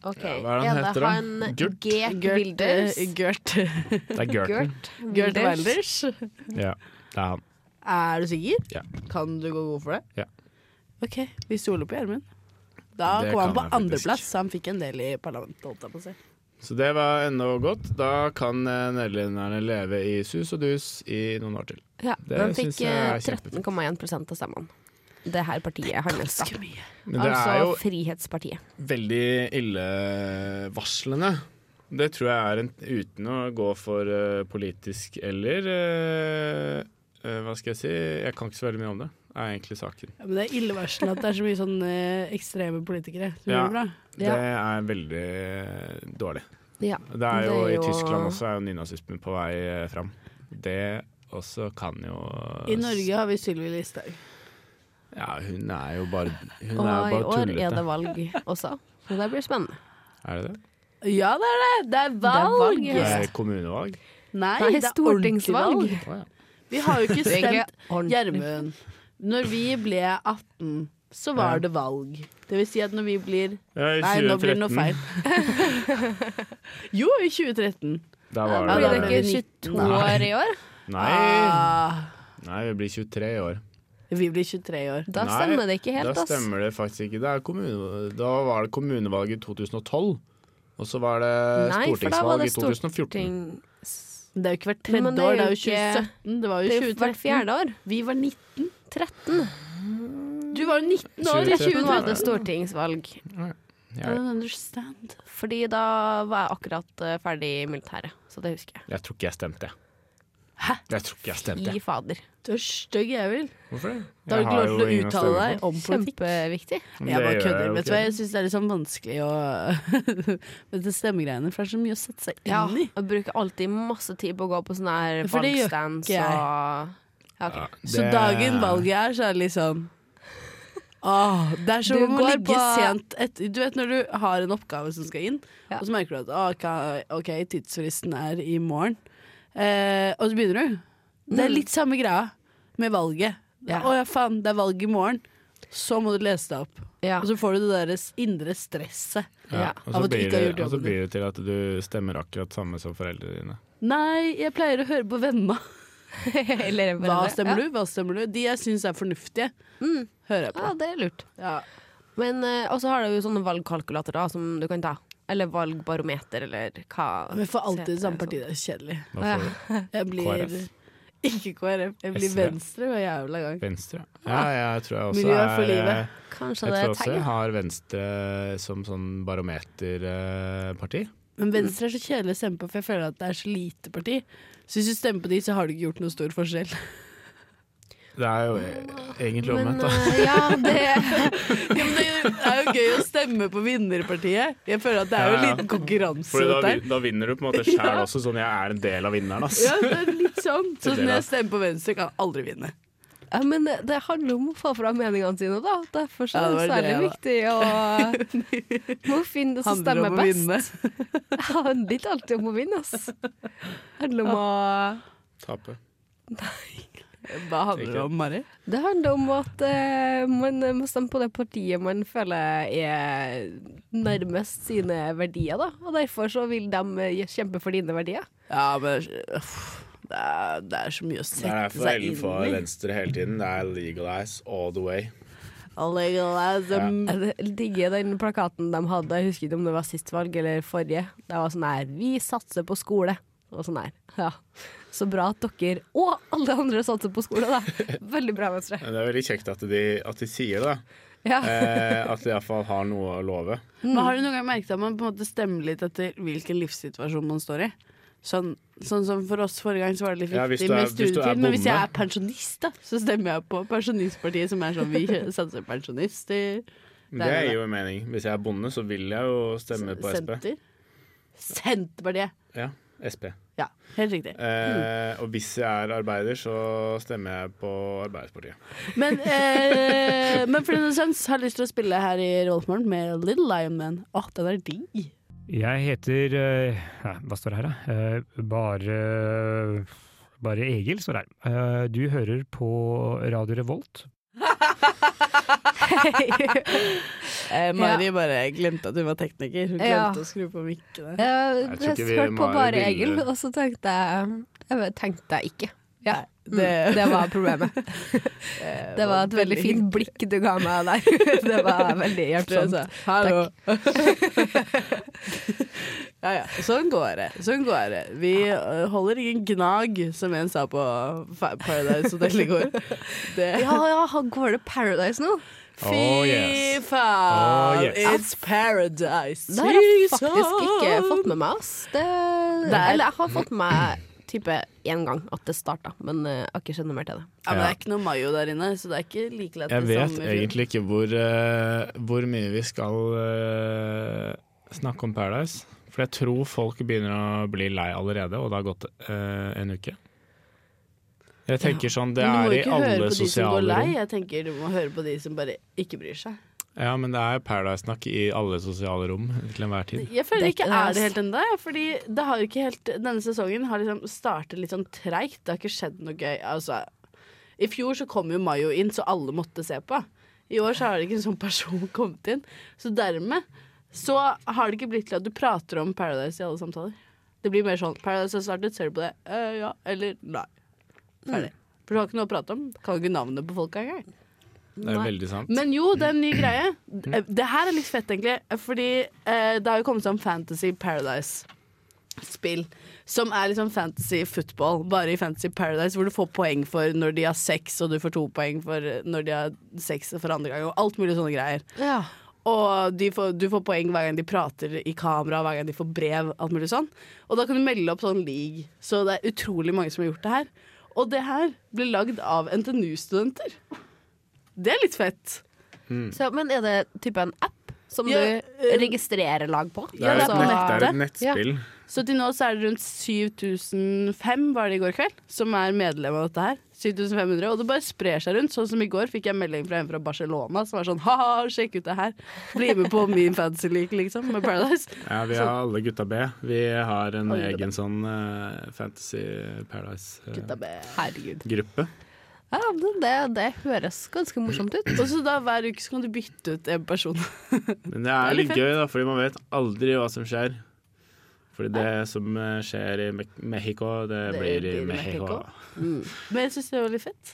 Speaker 5: Ok,
Speaker 4: Ja, hva er det han
Speaker 5: Er
Speaker 4: heter
Speaker 5: det
Speaker 4: da?
Speaker 5: han
Speaker 4: Gert?
Speaker 5: Gert Wilders?
Speaker 2: eh, Gert,
Speaker 4: Det er Gerten.
Speaker 5: Gert
Speaker 2: Gert
Speaker 5: Wilders?
Speaker 2: Wilders.
Speaker 4: Ja, det er han.
Speaker 2: Er du sikker?
Speaker 4: Ja.
Speaker 2: Kan du gå god for det?
Speaker 4: Ja.
Speaker 2: Ok, vi stoler på Gjermund. Da
Speaker 4: Det
Speaker 2: kom han
Speaker 4: kan
Speaker 2: på
Speaker 4: jeg faktisk.
Speaker 2: andreplass, så han fikk en del i parlamentet. Holdt jeg på å si.
Speaker 4: Så det var ennå godt. Da kan eh, nederlenderne leve i sus og dus i noen år til.
Speaker 5: Ja,
Speaker 4: Det
Speaker 5: han
Speaker 4: synes
Speaker 5: fikk
Speaker 4: jeg er
Speaker 5: eh,
Speaker 4: kjempefint.
Speaker 5: 13,1 av stemmene. Det her partiet handles da.
Speaker 2: Ganske mye.
Speaker 4: Men det er
Speaker 5: Altså
Speaker 4: jo
Speaker 5: Frihetspartiet.
Speaker 4: veldig illevarslende. Det tror jeg er en, uten å gå for eh, politisk eller eh, eh, Hva skal jeg si? Jeg kan ikke så veldig mye om det, er egentlig saken.
Speaker 2: Ja, men det er illevarslende at det er så mye sånn eh, ekstreme politikere som
Speaker 4: Ja.
Speaker 2: gjør det bra.
Speaker 5: Ja.
Speaker 4: Det er veldig dårlig.
Speaker 5: Ja.
Speaker 4: Det er jo,
Speaker 5: Det er
Speaker 4: I
Speaker 5: jo-
Speaker 4: Tyskland også er jo nynazismen på vei eh, fram. Det også kan jo
Speaker 2: I Norge har vi Sylvi Listhaug.
Speaker 4: Ja, hun er jo bare Hun
Speaker 5: Og i
Speaker 4: er jo
Speaker 5: år
Speaker 4: bare
Speaker 5: er det
Speaker 4: tullete.
Speaker 5: valg også. Så det blir spennende.
Speaker 4: Er det det?
Speaker 2: Ja, det er det! Det er valg!
Speaker 5: valg,
Speaker 4: Det
Speaker 5: ja.
Speaker 4: er kommunevalg?
Speaker 2: Nei,
Speaker 5: Det er
Speaker 2: det er stortingsvalg.
Speaker 5: stortingsvalg.
Speaker 4: Å ja.
Speaker 2: Vi har jo ikke
Speaker 5: Det er ikke
Speaker 2: stemt Gjermund. Når vi ble 18, så var
Speaker 4: Ja.
Speaker 2: det valg. Det vil si at når vi blir
Speaker 4: Ja, i
Speaker 2: Nei, nå blir det noe
Speaker 4: 2013.
Speaker 2: feil. jo, i 2013.
Speaker 4: Da var
Speaker 5: Blir
Speaker 2: Ja,
Speaker 4: det,
Speaker 2: da
Speaker 5: det
Speaker 2: ble vi
Speaker 5: ikke 22
Speaker 2: 19.
Speaker 5: år i år?
Speaker 4: Nei,
Speaker 2: Ah,
Speaker 4: nei, vi blir 23 i år.
Speaker 2: vi blir 23 år.
Speaker 5: Da
Speaker 4: Nei,
Speaker 5: stemmer det ikke helt,
Speaker 4: Da
Speaker 5: ass.
Speaker 4: stemmer det faktisk ikke. Det er kommune, da var det kommunevalg i 2012. Og så var det
Speaker 5: Nei, for da var
Speaker 4: stortingsvalg
Speaker 5: det
Speaker 4: i 2014.
Speaker 5: storting-
Speaker 2: Det er jo ikke hvert tredje
Speaker 5: Men det er
Speaker 2: år, det
Speaker 5: jo
Speaker 2: er jo
Speaker 5: ikke-
Speaker 2: 2017. Det var
Speaker 5: Det er
Speaker 2: jo
Speaker 5: jo
Speaker 2: 2013.
Speaker 5: hvert fjerde år.
Speaker 2: Vi var 19.
Speaker 5: 13.
Speaker 2: Du var jo 19 år i
Speaker 4: 2013.
Speaker 5: 2013 var det
Speaker 2: 2013.
Speaker 5: stortingsvalg.
Speaker 2: I
Speaker 4: Jeg,
Speaker 2: don't understand.
Speaker 5: Fordi da var jeg akkurat eh, ferdig i militæret, så det husker jeg.
Speaker 4: jeg tror ikke jeg stemte.
Speaker 2: Hæ?
Speaker 4: Jeg tror ikke jeg stemte.
Speaker 5: I fader.
Speaker 2: Du er stygg, jeg vil.
Speaker 4: Hvorfor det?
Speaker 2: Da har du
Speaker 4: Jeg
Speaker 2: ikke
Speaker 4: jo
Speaker 2: lov til
Speaker 4: ingen
Speaker 2: å uttale
Speaker 4: stemme
Speaker 2: deg om politikk.
Speaker 5: Kjempeviktig.
Speaker 2: Jeg
Speaker 4: på. Det
Speaker 2: bare
Speaker 4: gjør
Speaker 2: kødder. Vet
Speaker 4: jo
Speaker 2: du
Speaker 4: ikke.
Speaker 2: hva, jeg syns det er litt sånn vanskelig å Med de stemmegreiene, for det er så mye å sette seg inn
Speaker 5: Ja,
Speaker 2: i.
Speaker 5: jeg bruker alltid masse tid på å gå på sånne her
Speaker 2: For det gjør
Speaker 5: valgstands
Speaker 2: ikke jeg.
Speaker 5: og ja, ok.
Speaker 4: Ja,
Speaker 2: Så
Speaker 4: det-
Speaker 2: dagen valget er, så er det litt sånn Åh, det er som
Speaker 5: Du
Speaker 2: om å
Speaker 5: går
Speaker 2: ligge
Speaker 5: på-
Speaker 2: sent etter Du vet når du har en oppgave som skal inn,
Speaker 5: Ja.
Speaker 2: og så merker du at åh, ka- OK, tidsfristen er i morgen. Eh, og så begynner du. Det er litt samme greia med valget. Å
Speaker 5: Mm. Ja.
Speaker 2: ja. faen, det er valg i morgen. Så må du lese deg opp.
Speaker 5: Ja.
Speaker 2: Og så får du det deres indre stresset.
Speaker 4: Ja, og,
Speaker 2: Av
Speaker 4: så
Speaker 2: at du
Speaker 4: blir
Speaker 2: ikke har
Speaker 4: det,
Speaker 2: gjort
Speaker 4: og så
Speaker 2: jobben
Speaker 4: blir det til at du stemmer akkurat samme som foreldrene dine.
Speaker 2: Nei, jeg pleier å høre på venna.
Speaker 5: Eller bare
Speaker 2: Hva
Speaker 5: det.
Speaker 2: stemmer du? Hva stemmer du? De jeg syns er fornuftige, hører jeg
Speaker 5: Mm. Ja. ja,
Speaker 2: på.
Speaker 5: det er lurt.
Speaker 2: Ja.
Speaker 5: Men eh, også har du jo sånne valgkalkulatorer som du kan ta. Eller valgbarometer, eller hva.
Speaker 2: Men for alltid
Speaker 5: heter
Speaker 2: det
Speaker 5: sånn.
Speaker 2: samme parti, det er kjedelig.
Speaker 4: Da får du
Speaker 2: Jeg blir
Speaker 4: KrF.
Speaker 2: ikke KrF, jeg blir
Speaker 4: SV.
Speaker 2: Venstre hver jævla gang.
Speaker 4: Venstre. Ja, jeg tror jeg også
Speaker 2: Miljø for
Speaker 4: er eh,
Speaker 2: livet.
Speaker 5: Kanskje
Speaker 4: Jeg
Speaker 5: det
Speaker 4: tror
Speaker 5: er
Speaker 4: også jeg
Speaker 5: tegn.
Speaker 4: har Venstre som sånn barometerparti.
Speaker 2: Men Venstre er så kjedelig å stemme på, for jeg føler at det er så lite parti. Så hvis du stemmer på de, så har du ikke gjort noe stor forskjell.
Speaker 4: Det er jo egentlig
Speaker 5: Men
Speaker 4: omvendt, da.
Speaker 5: eh, ja, det
Speaker 2: Ja, men det er jo gøy å stemme på vinnerpartiet. Jeg føler at det er jo en
Speaker 4: Ja, ja.
Speaker 2: liten konkurranse.
Speaker 4: Fordi da,
Speaker 2: dette her.
Speaker 4: vin- da vinner du på en måte sjæl også, sånn jeg er en del av vinneren, ass.
Speaker 2: Ja, det er litt sånn. Sånn som
Speaker 4: Det er
Speaker 2: når
Speaker 4: det.
Speaker 2: jeg stemmer på Venstre, kan jeg aldri vinne.
Speaker 5: Ja, men det- det handler om å få fram meningene sine, da. Derfor så
Speaker 2: Ja,
Speaker 5: er det
Speaker 2: det var
Speaker 5: særlig viktig å eh, må finne det som
Speaker 2: Handler
Speaker 5: stemmer
Speaker 2: om å
Speaker 5: best.
Speaker 2: vinne.
Speaker 5: Det handler ikke alltid om å vinne, ass. Det handler om å
Speaker 4: Tape.
Speaker 2: Hva handler det om, Mari?
Speaker 5: Det handler om at eh, man må stemme på det partiet man føler er nærmest sine verdier, da. Og derfor så vil de eh, kjempe for dine verdier.
Speaker 2: Ja, men uff, det, er, det er så mye å
Speaker 4: Det er
Speaker 2: sette
Speaker 4: derfor
Speaker 2: seg
Speaker 4: jeg får
Speaker 2: inn i.
Speaker 4: Venstre hele tiden. Det er legalize all the way.
Speaker 2: Legalism.
Speaker 5: Jeg digger den plakaten de hadde, jeg husker ikke om det var sist valg eller forrige. Det var sånn her 'Vi satser på skole'. Og sånn her. Ja. Så bra at dere og alle andre satser på skole, da. Veldig bra, Venstre.
Speaker 4: Men Det er veldig kjekt at de, at de sier det, da.
Speaker 5: Ja.
Speaker 4: Eh, at de iallfall har noe å love. Mm.
Speaker 2: Men har du noen gang merket at man på en måte stemmer litt etter hvilken livssituasjon man står i? Sånn, sånn som for oss forrige gang, så var det litt
Speaker 4: Ja, hvis
Speaker 2: viktig
Speaker 4: du er-
Speaker 2: med
Speaker 4: hvis du er
Speaker 2: studietid. Men hvis jeg
Speaker 4: bonde.
Speaker 2: er pensjonist, da, så stemmer jeg på Pensjonistpartiet, som er sånn vi satser pensjonister.
Speaker 4: Det gir jo en mening. Hvis jeg er bonde, så vil jeg jo stemme på SP.
Speaker 2: Senter. Senterpartiet!
Speaker 4: Ja, SP.
Speaker 2: Ja, helt riktig.
Speaker 4: Eh, og hvis jeg er arbeider, så stemmer jeg på Arbeiderpartiet.
Speaker 2: Men, eh, men for denne sens har jeg lyst til å spille her i Rollsmorgen med Little Lion Man. Å, den er digg!
Speaker 9: Jeg heter eh, ja, Hva står det her, da? Eh, Bare, bare Egil står det her. Eh, Du hører på Radio Revolt.
Speaker 2: Eh, Mari bare glemte at hun var tekniker. Hun glemte
Speaker 10: Ja.
Speaker 2: å skru på mikkene.
Speaker 10: Jeg,
Speaker 4: Jeg tror ikke vi
Speaker 10: hørte på
Speaker 4: Mari
Speaker 10: bare
Speaker 4: ville-
Speaker 10: Egil, og så tenkte jeg Jeg vet, tenkte jeg ikke. Ja. Det,
Speaker 2: det-
Speaker 10: det var problemet. Det var et veldig fint blikk du ga meg der. Det var veldig hjelpsomt.
Speaker 2: Sånn. Hallo. ja, ja. Sånn går det. Sånn går det. Vi eh, holder ingen gnag, som en sa på Fa- Paradise Hotel i går. Det.
Speaker 10: Ja, ja, går det Paradise nå?
Speaker 2: Fy
Speaker 4: Oh, yes.
Speaker 2: faen,
Speaker 4: Oh, yes.
Speaker 2: it's paradise.
Speaker 5: Det har jeg
Speaker 2: Jesus.
Speaker 5: faktisk ikke fått med meg, ass. Det, eller jeg har fått med meg type én gang at det starta, men eh, jeg har ikke skjønt noe mer til det.
Speaker 2: Ja, men det er ikke noe mayo der inne, så det er ikke like lett
Speaker 4: Jeg
Speaker 2: det
Speaker 4: vet
Speaker 2: samme i fjor.
Speaker 4: egentlig ikke hvor, eh, hvor mye vi skal eh, snakke om Paradise. For jeg tror folk begynner å bli lei allerede, og det har gått eh, en uke. Jeg tenker sånn, det
Speaker 2: Men du må
Speaker 4: er i
Speaker 2: ikke høre
Speaker 4: alle
Speaker 2: på de som
Speaker 4: sosiale
Speaker 2: går lei.
Speaker 4: rom.
Speaker 2: Jeg tenker du må høre på de som bare ikke bryr seg.
Speaker 4: Ja, men det er Paradise-snakk i alle sosiale rom til enhver tid.
Speaker 2: Jeg føler
Speaker 5: Det
Speaker 2: ikke
Speaker 5: er ikke
Speaker 2: er
Speaker 5: det,
Speaker 2: det helt ennå. jeg, Fordi det har jo ikke helt Denne sesongen har liksom startet litt sånn treigt. Det har ikke skjedd noe gøy. Altså, I fjor så kom jo Mayo inn, så alle måtte se på. I år så har det ikke en sånn person kommet inn. Så dermed så har det ikke blitt til at du prater om Paradise i alle samtaler. Det blir mer sånn Paradise har startet, ser du på det? Eh, ja eller nei.
Speaker 5: Mm.
Speaker 2: Ferdig. For du har ikke noe å prate om. Kan jo ikke navnet på folka engang.
Speaker 4: Det er veldig sant.
Speaker 2: Men jo, det er en ny greie. Det her er litt fett, egentlig. Fordi eh, det har jo kommet sånn Fantasy Paradise-spill. Som er liksom fantasy football, bare i Fantasy Paradise, hvor du får poeng for når de har sex, og du får to poeng for når de har sex for andre gang, og alt mulig sånne greier. Og de får, du får poeng hver gang de prater i kamera, hver gang de får brev, alt mulig sånn. Og da kan du melde opp sånn league. Så det er utrolig mange som har gjort det her. Og det her ble lagd av NTNU-studenter. Det er litt fett.
Speaker 5: Så, men er det type en app som
Speaker 2: Ja,
Speaker 5: du
Speaker 2: eh,
Speaker 5: registrerer lag på?
Speaker 4: Det er
Speaker 2: Ja, det
Speaker 4: et,
Speaker 2: er
Speaker 4: nett, det er
Speaker 2: nettet.
Speaker 4: et nettspill.
Speaker 2: Så til nå så er det rundt 7005 var det i går kveld, som er medlem av dette her. 7500, Og det bare sprer seg rundt. Sånn som i går fikk jeg melding fra en fra Barcelona som var sånn ha-ha, sjekk ut det her. Bli med på min fancy league, liksom, med Paradise.
Speaker 4: Ja, vi har alle gutta B. Vi har en
Speaker 2: Alle gutta
Speaker 4: egen sånn eh, Fantasy eh, Paradise-gruppe.
Speaker 2: Gutta be.
Speaker 10: Herregud. Ja, det, det, det høres ganske morsomt ut.
Speaker 2: Og så da hver uke så kan du bytte ut en person.
Speaker 4: Men det er
Speaker 2: litt
Speaker 4: litt gøy, da, fordi man vet aldri hva som skjer. Fordi det som eh, skjer i Me- Mexico, det,
Speaker 2: Det
Speaker 4: blir i
Speaker 2: blir i
Speaker 4: Mexico.
Speaker 2: Mexico. Men jeg syns det var litt fett.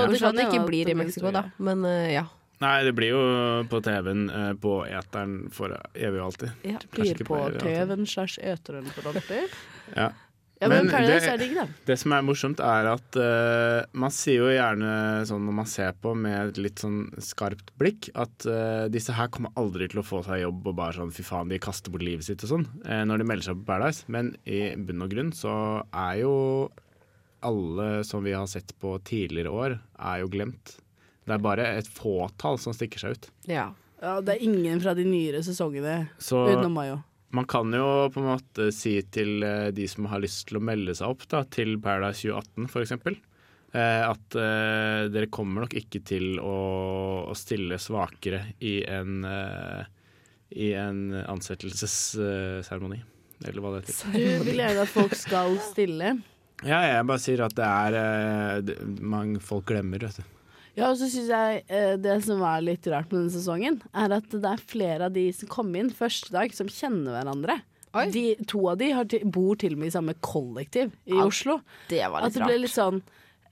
Speaker 5: Kanskje at det
Speaker 2: hende
Speaker 5: ikke
Speaker 2: at
Speaker 5: blir i
Speaker 2: blir en
Speaker 5: Mexico,
Speaker 2: stor
Speaker 5: da.
Speaker 2: greie.
Speaker 5: Men eh, ja.
Speaker 4: Nei, det blir jo på TV-en, eh, på eteren, for evig og alltid.
Speaker 5: Ja.
Speaker 4: Kanskje
Speaker 2: Blir
Speaker 4: ikke
Speaker 2: på
Speaker 4: evig og alltid.
Speaker 2: TV-en slash eteren for alltid.
Speaker 4: Ja.
Speaker 2: Ja, men,
Speaker 4: Men
Speaker 2: Paradise
Speaker 4: det-
Speaker 2: er digg, da.
Speaker 4: Det som er morsomt, er at eh, man sier jo gjerne sånn når man ser på med et litt sånn skarpt blikk, at eh, disse her kommer aldri til å få seg jobb og bare sånn fy faen, de kaster bort livet sitt og sånn, eh, når de melder seg på Paradise. Men i bunn og grunn så er jo alle som vi har sett på tidligere år, er jo glemt. Det er bare et fåtall som stikker seg ut.
Speaker 5: ja.
Speaker 2: Ja, det er ingen fra de nyere sesongene
Speaker 4: Så
Speaker 2: utenom Mayo.
Speaker 4: man kan jo på en måte si til eh, de som har lyst til å melde seg opp da, til Paradise 2018 f.eks., at eh, dere kommer nok ikke til å, å stille svakere i en, eh, i en ansettelsesseremoni. Eller hva det heter.
Speaker 2: Du vil gjerne at folk skal stille.
Speaker 4: Ja, jeg bare sier at det er eh, det, mange folk glemmer, vet du.
Speaker 2: Ja, og så synes jeg eh, Det som var litt rart med denne sesongen, er at det er flere av de som kom inn første dag, som kjenner hverandre. De, to av de har til, bor til og med i samme kollektiv i
Speaker 5: Ja,
Speaker 2: Oslo.
Speaker 5: Altså, Det var
Speaker 2: At
Speaker 5: litt
Speaker 2: det ble
Speaker 5: rart.
Speaker 2: litt sånn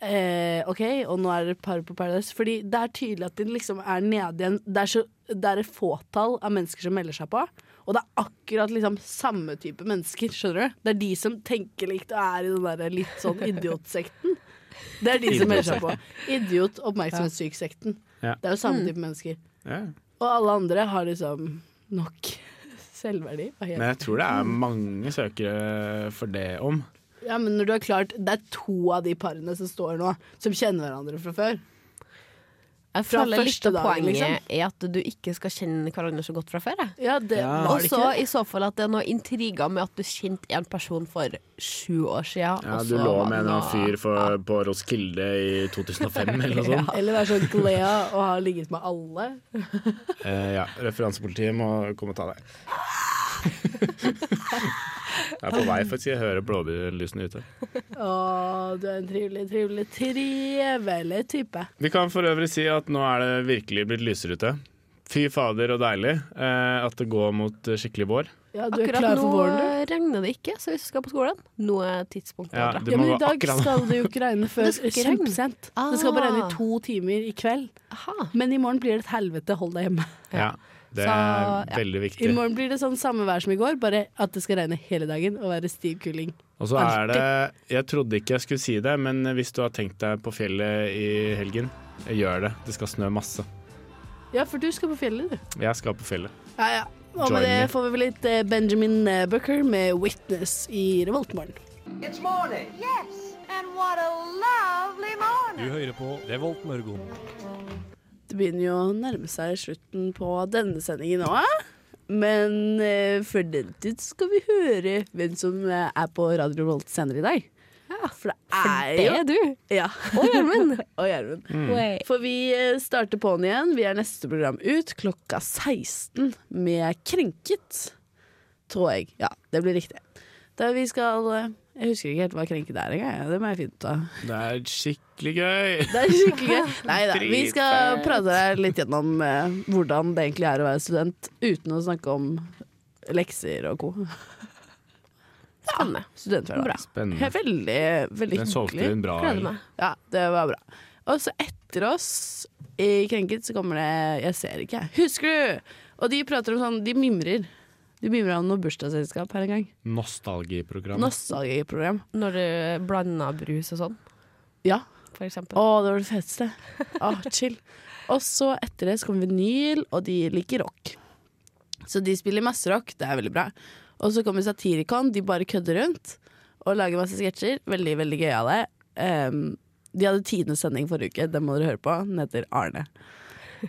Speaker 2: eh, OK, og nå er det et par på Paradise. Fordi det er tydelig at de liksom er nede igjen. Det er, så, det er et fåtall av mennesker som melder seg på. Og det er akkurat liksom samme type mennesker. skjønner du? Det er de som tenker likt og er i den der litt sånn idiotsekten. Det er de som melder seg på. Idiot oppmerksomhetssyk-sekten.
Speaker 5: Mm.
Speaker 4: Ja.
Speaker 2: Det er jo samme type mennesker.
Speaker 4: Ja.
Speaker 2: Og alle andre har liksom nok. Selvverdi? Hva heter
Speaker 4: Men jeg tror det er mange søkere for det om.
Speaker 2: Ja, men når du har klart Det er to av de parene som står nå, som kjenner hverandre fra før.
Speaker 5: Jeg
Speaker 2: Fra
Speaker 5: føler litt
Speaker 2: første
Speaker 5: av
Speaker 2: dagen,
Speaker 5: poenget
Speaker 2: liksom.
Speaker 5: er at du ikke skal kjenne hverandre så godt fra før. jeg.
Speaker 2: Ja, det
Speaker 4: Ja.
Speaker 2: var
Speaker 5: Og
Speaker 2: det
Speaker 5: så
Speaker 2: ikke.
Speaker 5: i så fall at det er noe intriger med at du kjente en person for sju år siden.
Speaker 4: Ja,
Speaker 5: og
Speaker 4: du
Speaker 5: så
Speaker 4: lå
Speaker 5: var
Speaker 4: med
Speaker 5: det
Speaker 4: en eller annen
Speaker 5: noe-
Speaker 4: fyr for, på Roskilde i 2005 eller noe sånt.
Speaker 2: Eller være sånn glea og ha ligget med alle.
Speaker 4: Eh, ja, referansepolitiet må komme og ta deg. Jeg er på vei, faktisk. Jeg hører blåbærlysene ute.
Speaker 2: Å, du er en trivelig, trivelig, trivelig type.
Speaker 4: Vi kan for øvrig si at nå er det virkelig blitt lysere ute. Fy fader og deilig eh, at det går mot eh, skikkelig vår.
Speaker 2: Ja, du er
Speaker 5: Akkurat
Speaker 2: klar
Speaker 5: nå
Speaker 2: for våren, du.
Speaker 5: regner det ikke, så hvis du skal på skolen, nå er tidspunktet
Speaker 4: Ja,
Speaker 5: å dra.
Speaker 4: du
Speaker 2: Ja,
Speaker 4: må
Speaker 2: men I
Speaker 4: være
Speaker 2: dag
Speaker 4: akkurat
Speaker 2: skal det jo ikke regne før
Speaker 5: Det skal ikke regne.
Speaker 2: kjempesent. Det skal bare regne
Speaker 5: Ah.
Speaker 2: i to timer i kveld.
Speaker 5: Aha.
Speaker 2: Men i morgen blir det et helvete, hold deg hjemme.
Speaker 4: Ja, det
Speaker 5: Så,
Speaker 4: er
Speaker 5: ja.
Speaker 4: veldig
Speaker 2: I
Speaker 4: viktig.
Speaker 2: morgen blir det sånn samme vær som i går, bare at det skal regne hele dagen og være stiv kuling.
Speaker 4: Og så er det Jeg trodde ikke jeg skulle si det, men hvis du har tenkt deg på fjellet i helgen, gjør det. Det skal snø masse.
Speaker 2: Ja, for du skal på fjellet, du.
Speaker 4: Jeg skal på fjellet.
Speaker 2: Ja, ja. Og med
Speaker 4: Join
Speaker 2: det
Speaker 4: me.
Speaker 2: får vi vel litt eh, Benjamin Bucker med 'Witness' i Revoltmorgen.
Speaker 8: Du hører på Revolt Mørgon.
Speaker 2: Det begynner jo å nærme seg slutten på denne sendingen òg. Men eh, før den tid skal vi høre hvem som eh, er på Radio Revolt senere i dag. for det er
Speaker 5: Det
Speaker 2: jo
Speaker 5: er du.
Speaker 2: Ja. Og Gjermund. og Gjermund. For vi eh, starter på'n igjen. Vi er neste program ut klokka 16 med Krenket. Tror jeg. Ja, det blir riktig. Da vi skal eh, Jeg husker ikke helt hva Krenket er engang. jeg. Det må jeg finne ut av.
Speaker 4: Det er skikkelig gøy!
Speaker 2: Det er skikkelig gøy. Nei da. Vi skal
Speaker 4: Dritfett.
Speaker 2: prate deg litt gjennom eh, hvordan det egentlig er å være student uten å snakke om lekser og co.
Speaker 5: Spennende. Bra.
Speaker 2: Studenthverdag. altså.
Speaker 4: Spennende.
Speaker 2: Veldig, veldig
Speaker 4: Den solgte
Speaker 2: hyggelig.
Speaker 4: hun bra.
Speaker 5: Gleder
Speaker 4: eller?
Speaker 5: meg.
Speaker 2: Ja, det var bra. Og så etter oss i Krenket så kommer det Jeg ser ikke, jeg. Husker du? Og de prater om sånn De mimrer. De mimrer om noe bursdagsselskap her en gang.
Speaker 4: Nostalgiprogram.
Speaker 2: Nostalgiprogram.
Speaker 5: Når du blander brus og sånn,
Speaker 2: Ja.
Speaker 5: for eksempel.
Speaker 2: Å, det var det feteste. Å, chill. Og så etter det så kommer vinyl, og de liker rock. Så de spiller masse rock, det er veldig bra. Og så kommer Satirikon, de bare kødder rundt og lager masse sketsjer. Veldig, veldig gøyale. Um, de hadde tidenes sending forrige uke, den må dere høre på. Den heter Arne.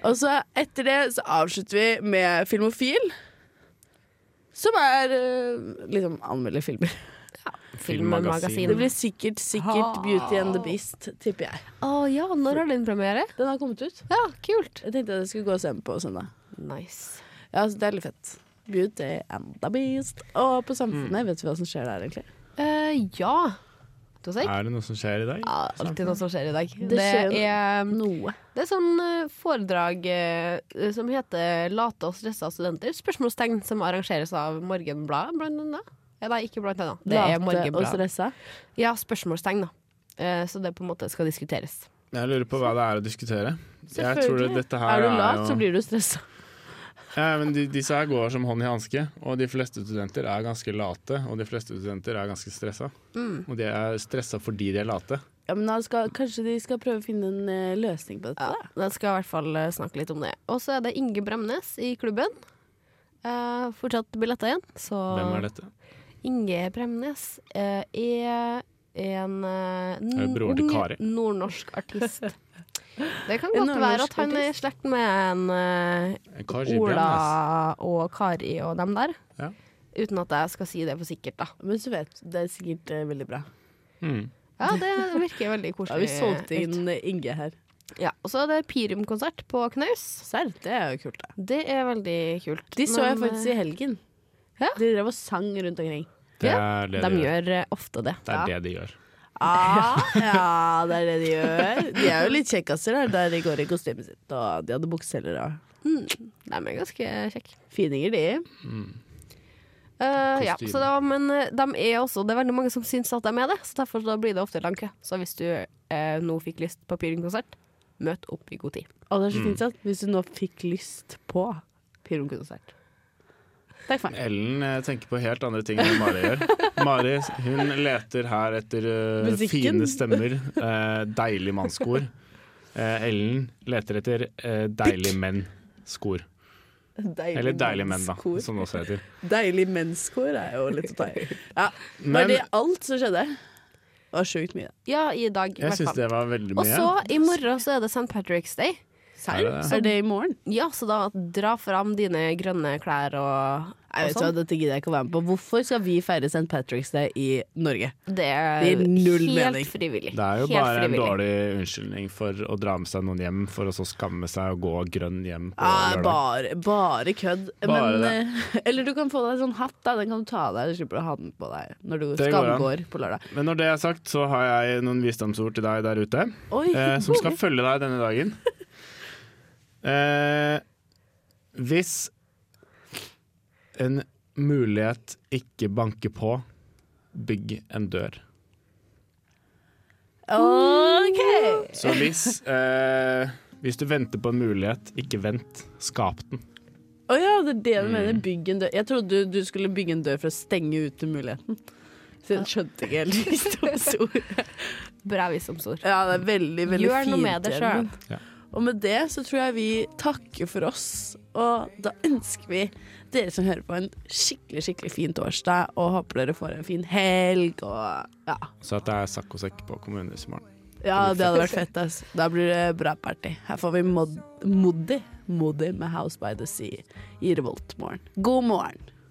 Speaker 2: Og så etter det så avslutter vi med Filmofil, som er eh, liksom anmelder filmer.
Speaker 4: Filmmagasin.
Speaker 2: Det blir sikkert, sikkert Beauty and the Beast, tipper jeg.
Speaker 5: Å ja, når har den premiere?
Speaker 2: Den har kommet ut.
Speaker 5: Ja, kult.
Speaker 2: Jeg tenkte at jeg skulle gå og se den på søndag.
Speaker 5: Nice.
Speaker 2: Ja, så Det er litt fett. Beauty and the beast. Og på Samfunnet, vet vi hva som skjer der, egentlig?
Speaker 5: Eh, ja. Du har sagt?
Speaker 4: Er det noe som skjer i dag?
Speaker 5: Ja, alltid noe som skjer i dag. Det,
Speaker 2: skjer
Speaker 5: er eh,
Speaker 2: Noe.
Speaker 5: Det er sånn eh, foredrag eh, som heter 'Late og stressa studenter'. Spørsmålstegn som arrangeres av Morgenbladet, blant annet. Eh, Nei, ikke blant annet. Det er
Speaker 2: Late og
Speaker 5: Morgenbladet.
Speaker 2: stressa.
Speaker 5: Ja, spørsmålstegn, da. Eh, Så det på en måte skal diskuteres.
Speaker 4: Jeg lurer på hva det er å diskutere. Jeg tror
Speaker 2: Selvfølgelig.
Speaker 4: dette her
Speaker 2: Er du lat,
Speaker 4: jo-
Speaker 2: så blir du stressa.
Speaker 4: Ja, men de, Disse her går som hånd i hanske, og de fleste studenter er ganske late. Og de fleste studenter er ganske stressa.
Speaker 2: Mm.
Speaker 4: Og de er stressa fordi de er late.
Speaker 2: Ja, men da skal, kanskje de skal prøve å finne en eh, løsning på dette?
Speaker 5: Ja,
Speaker 2: da?
Speaker 5: da skal jeg i hvert fall eh, snakke litt om det. Og så er det Inge Bremnes i klubben. Eh, fortsatt billetter igjen, så
Speaker 4: Hvem er dette?
Speaker 5: Inge Bremnes eh, er en eh,
Speaker 4: Er det broren til Kari?
Speaker 5: ung nordnorsk artist. Det kan
Speaker 2: En
Speaker 5: godt være at
Speaker 2: nordnorsk
Speaker 5: han er i
Speaker 2: artist.
Speaker 5: slekt med en eh,
Speaker 4: Kaji Bremnes.
Speaker 5: Ola og Kari og dem der.
Speaker 4: Ja.
Speaker 5: Uten at jeg skal si det for sikkert, da.
Speaker 2: Men så vet du, det er sikkert eh, veldig bra.
Speaker 4: Mm.
Speaker 5: Ja, det virker veldig
Speaker 2: Ja,
Speaker 5: koselig.
Speaker 2: vi
Speaker 5: ut.
Speaker 2: solgte inn eh, Inge her.
Speaker 5: Ja, og så er det Pirum-konsert på Knaus.
Speaker 2: Serr, det er jo kult, da.
Speaker 5: Det er veldig kult.
Speaker 2: De så jeg
Speaker 5: Men,
Speaker 2: faktisk i helgen.
Speaker 5: Ja.
Speaker 2: De drev og sang rundt omkring.
Speaker 4: Det er det
Speaker 5: De
Speaker 4: de gjør.
Speaker 5: gjør eh, ofte det.
Speaker 4: Det er det de gjør.
Speaker 2: Ah, ja, det er det de gjør. De er jo litt kjekkaser der, der de går i kostymet sitt, og de hadde bukseler og
Speaker 5: De er ganske kjekke.
Speaker 2: fininger, de.
Speaker 5: Eh, ja,
Speaker 4: Kostyme.
Speaker 5: så da, men eh, de er også, det er veldig mange som syns at de er det, så derfor da blir det ofte lang kø. Så hvis du eh, nå fikk lyst på Pirum-konsert, møt opp i god tid.
Speaker 2: Og det er
Speaker 4: Mm.
Speaker 2: så fint at hvis du nå fikk lyst på Pyrom-konsert Takk for meg.
Speaker 4: Ellen eh, tenker på helt andre ting enn Mari gjør. Mari hun leter her etter eh,
Speaker 2: Musikken.
Speaker 4: fine stemmer, eh, deilig mannskor. Eh, Ellen leter etter eh, deilig menn-skor.
Speaker 2: Deilig
Speaker 4: Eller Deilige menn, da,
Speaker 2: menskor.
Speaker 4: som det også heter.
Speaker 2: Deilig menskår er jo litt å ta i. Ja,
Speaker 4: Men-
Speaker 2: var det alt som skjedde? Det var sjukt mye.
Speaker 5: Ja, i dag. i
Speaker 4: Jeg
Speaker 5: hvert
Speaker 4: syns
Speaker 5: fall.
Speaker 4: det var veldig
Speaker 5: Og
Speaker 4: mye.
Speaker 5: så, i morgen, så er det St. Patrick's Day.
Speaker 4: Er det det?
Speaker 2: Så er det i morgen?
Speaker 5: Ja, så da dra fram dine grønne klær og, og
Speaker 2: Jeg vet hva,
Speaker 5: sånn.
Speaker 2: Dette gidder jeg ikke å være med på. Hvorfor skal vi feire St. Patrick's Day i Norge?
Speaker 4: sånn.
Speaker 5: Det er
Speaker 2: Det gir null
Speaker 5: helt
Speaker 2: mening.
Speaker 5: frivillig.
Speaker 4: Det er jo
Speaker 5: Helt
Speaker 4: bare en
Speaker 5: frivillig.
Speaker 4: dårlig unnskyldning for å dra med seg noen hjem, for å så skamme seg og gå grønn hjem på
Speaker 2: Ah,
Speaker 4: lørdag.
Speaker 2: bare, bare kødd.
Speaker 4: Bare
Speaker 2: Men, eh, eller du kan få deg en sånn hatt. Da. Den kan du ta av deg, du slipper å ha den på deg når du
Speaker 4: Det går an.
Speaker 2: skamgår på lørdag.
Speaker 4: Men når det er sagt, så har jeg noen visdomsord til deg der ute,
Speaker 2: Oi,
Speaker 4: eh, som skal følge deg denne dagen. Eh, hvis en mulighet ikke banker på, bygg en dør.
Speaker 2: OK!
Speaker 4: Så hvis, eh, hvis du venter på en mulighet, ikke vent. Skap den.
Speaker 2: Å ja, det er det du mener.
Speaker 5: Mm.
Speaker 2: Bygg en dør. Jeg trodde du, du skulle bygge en dør for å stenge ute muligheten. Så jeg skjønte ikke helt visdomsordet.
Speaker 5: Bra visdomsord.
Speaker 2: Ja, det er veldig, veldig
Speaker 5: Gjør noe med det
Speaker 2: fintgjørende.
Speaker 5: selv.
Speaker 4: Ja.
Speaker 2: Og med det så tror jeg vi takker for oss. Og da ønsker vi dere som hører på, en skikkelig, skikkelig fin torsdag. Og håper dere får en fin helg og ja.
Speaker 4: Så at det er sakk og sekk på kommunehuset i morgen.
Speaker 2: Ja, det hadde vært fett, ass. Da blir det bra party. Her får vi Mod Moddi. Moddi med House by the Sea i Revoltmorgen. God morgen.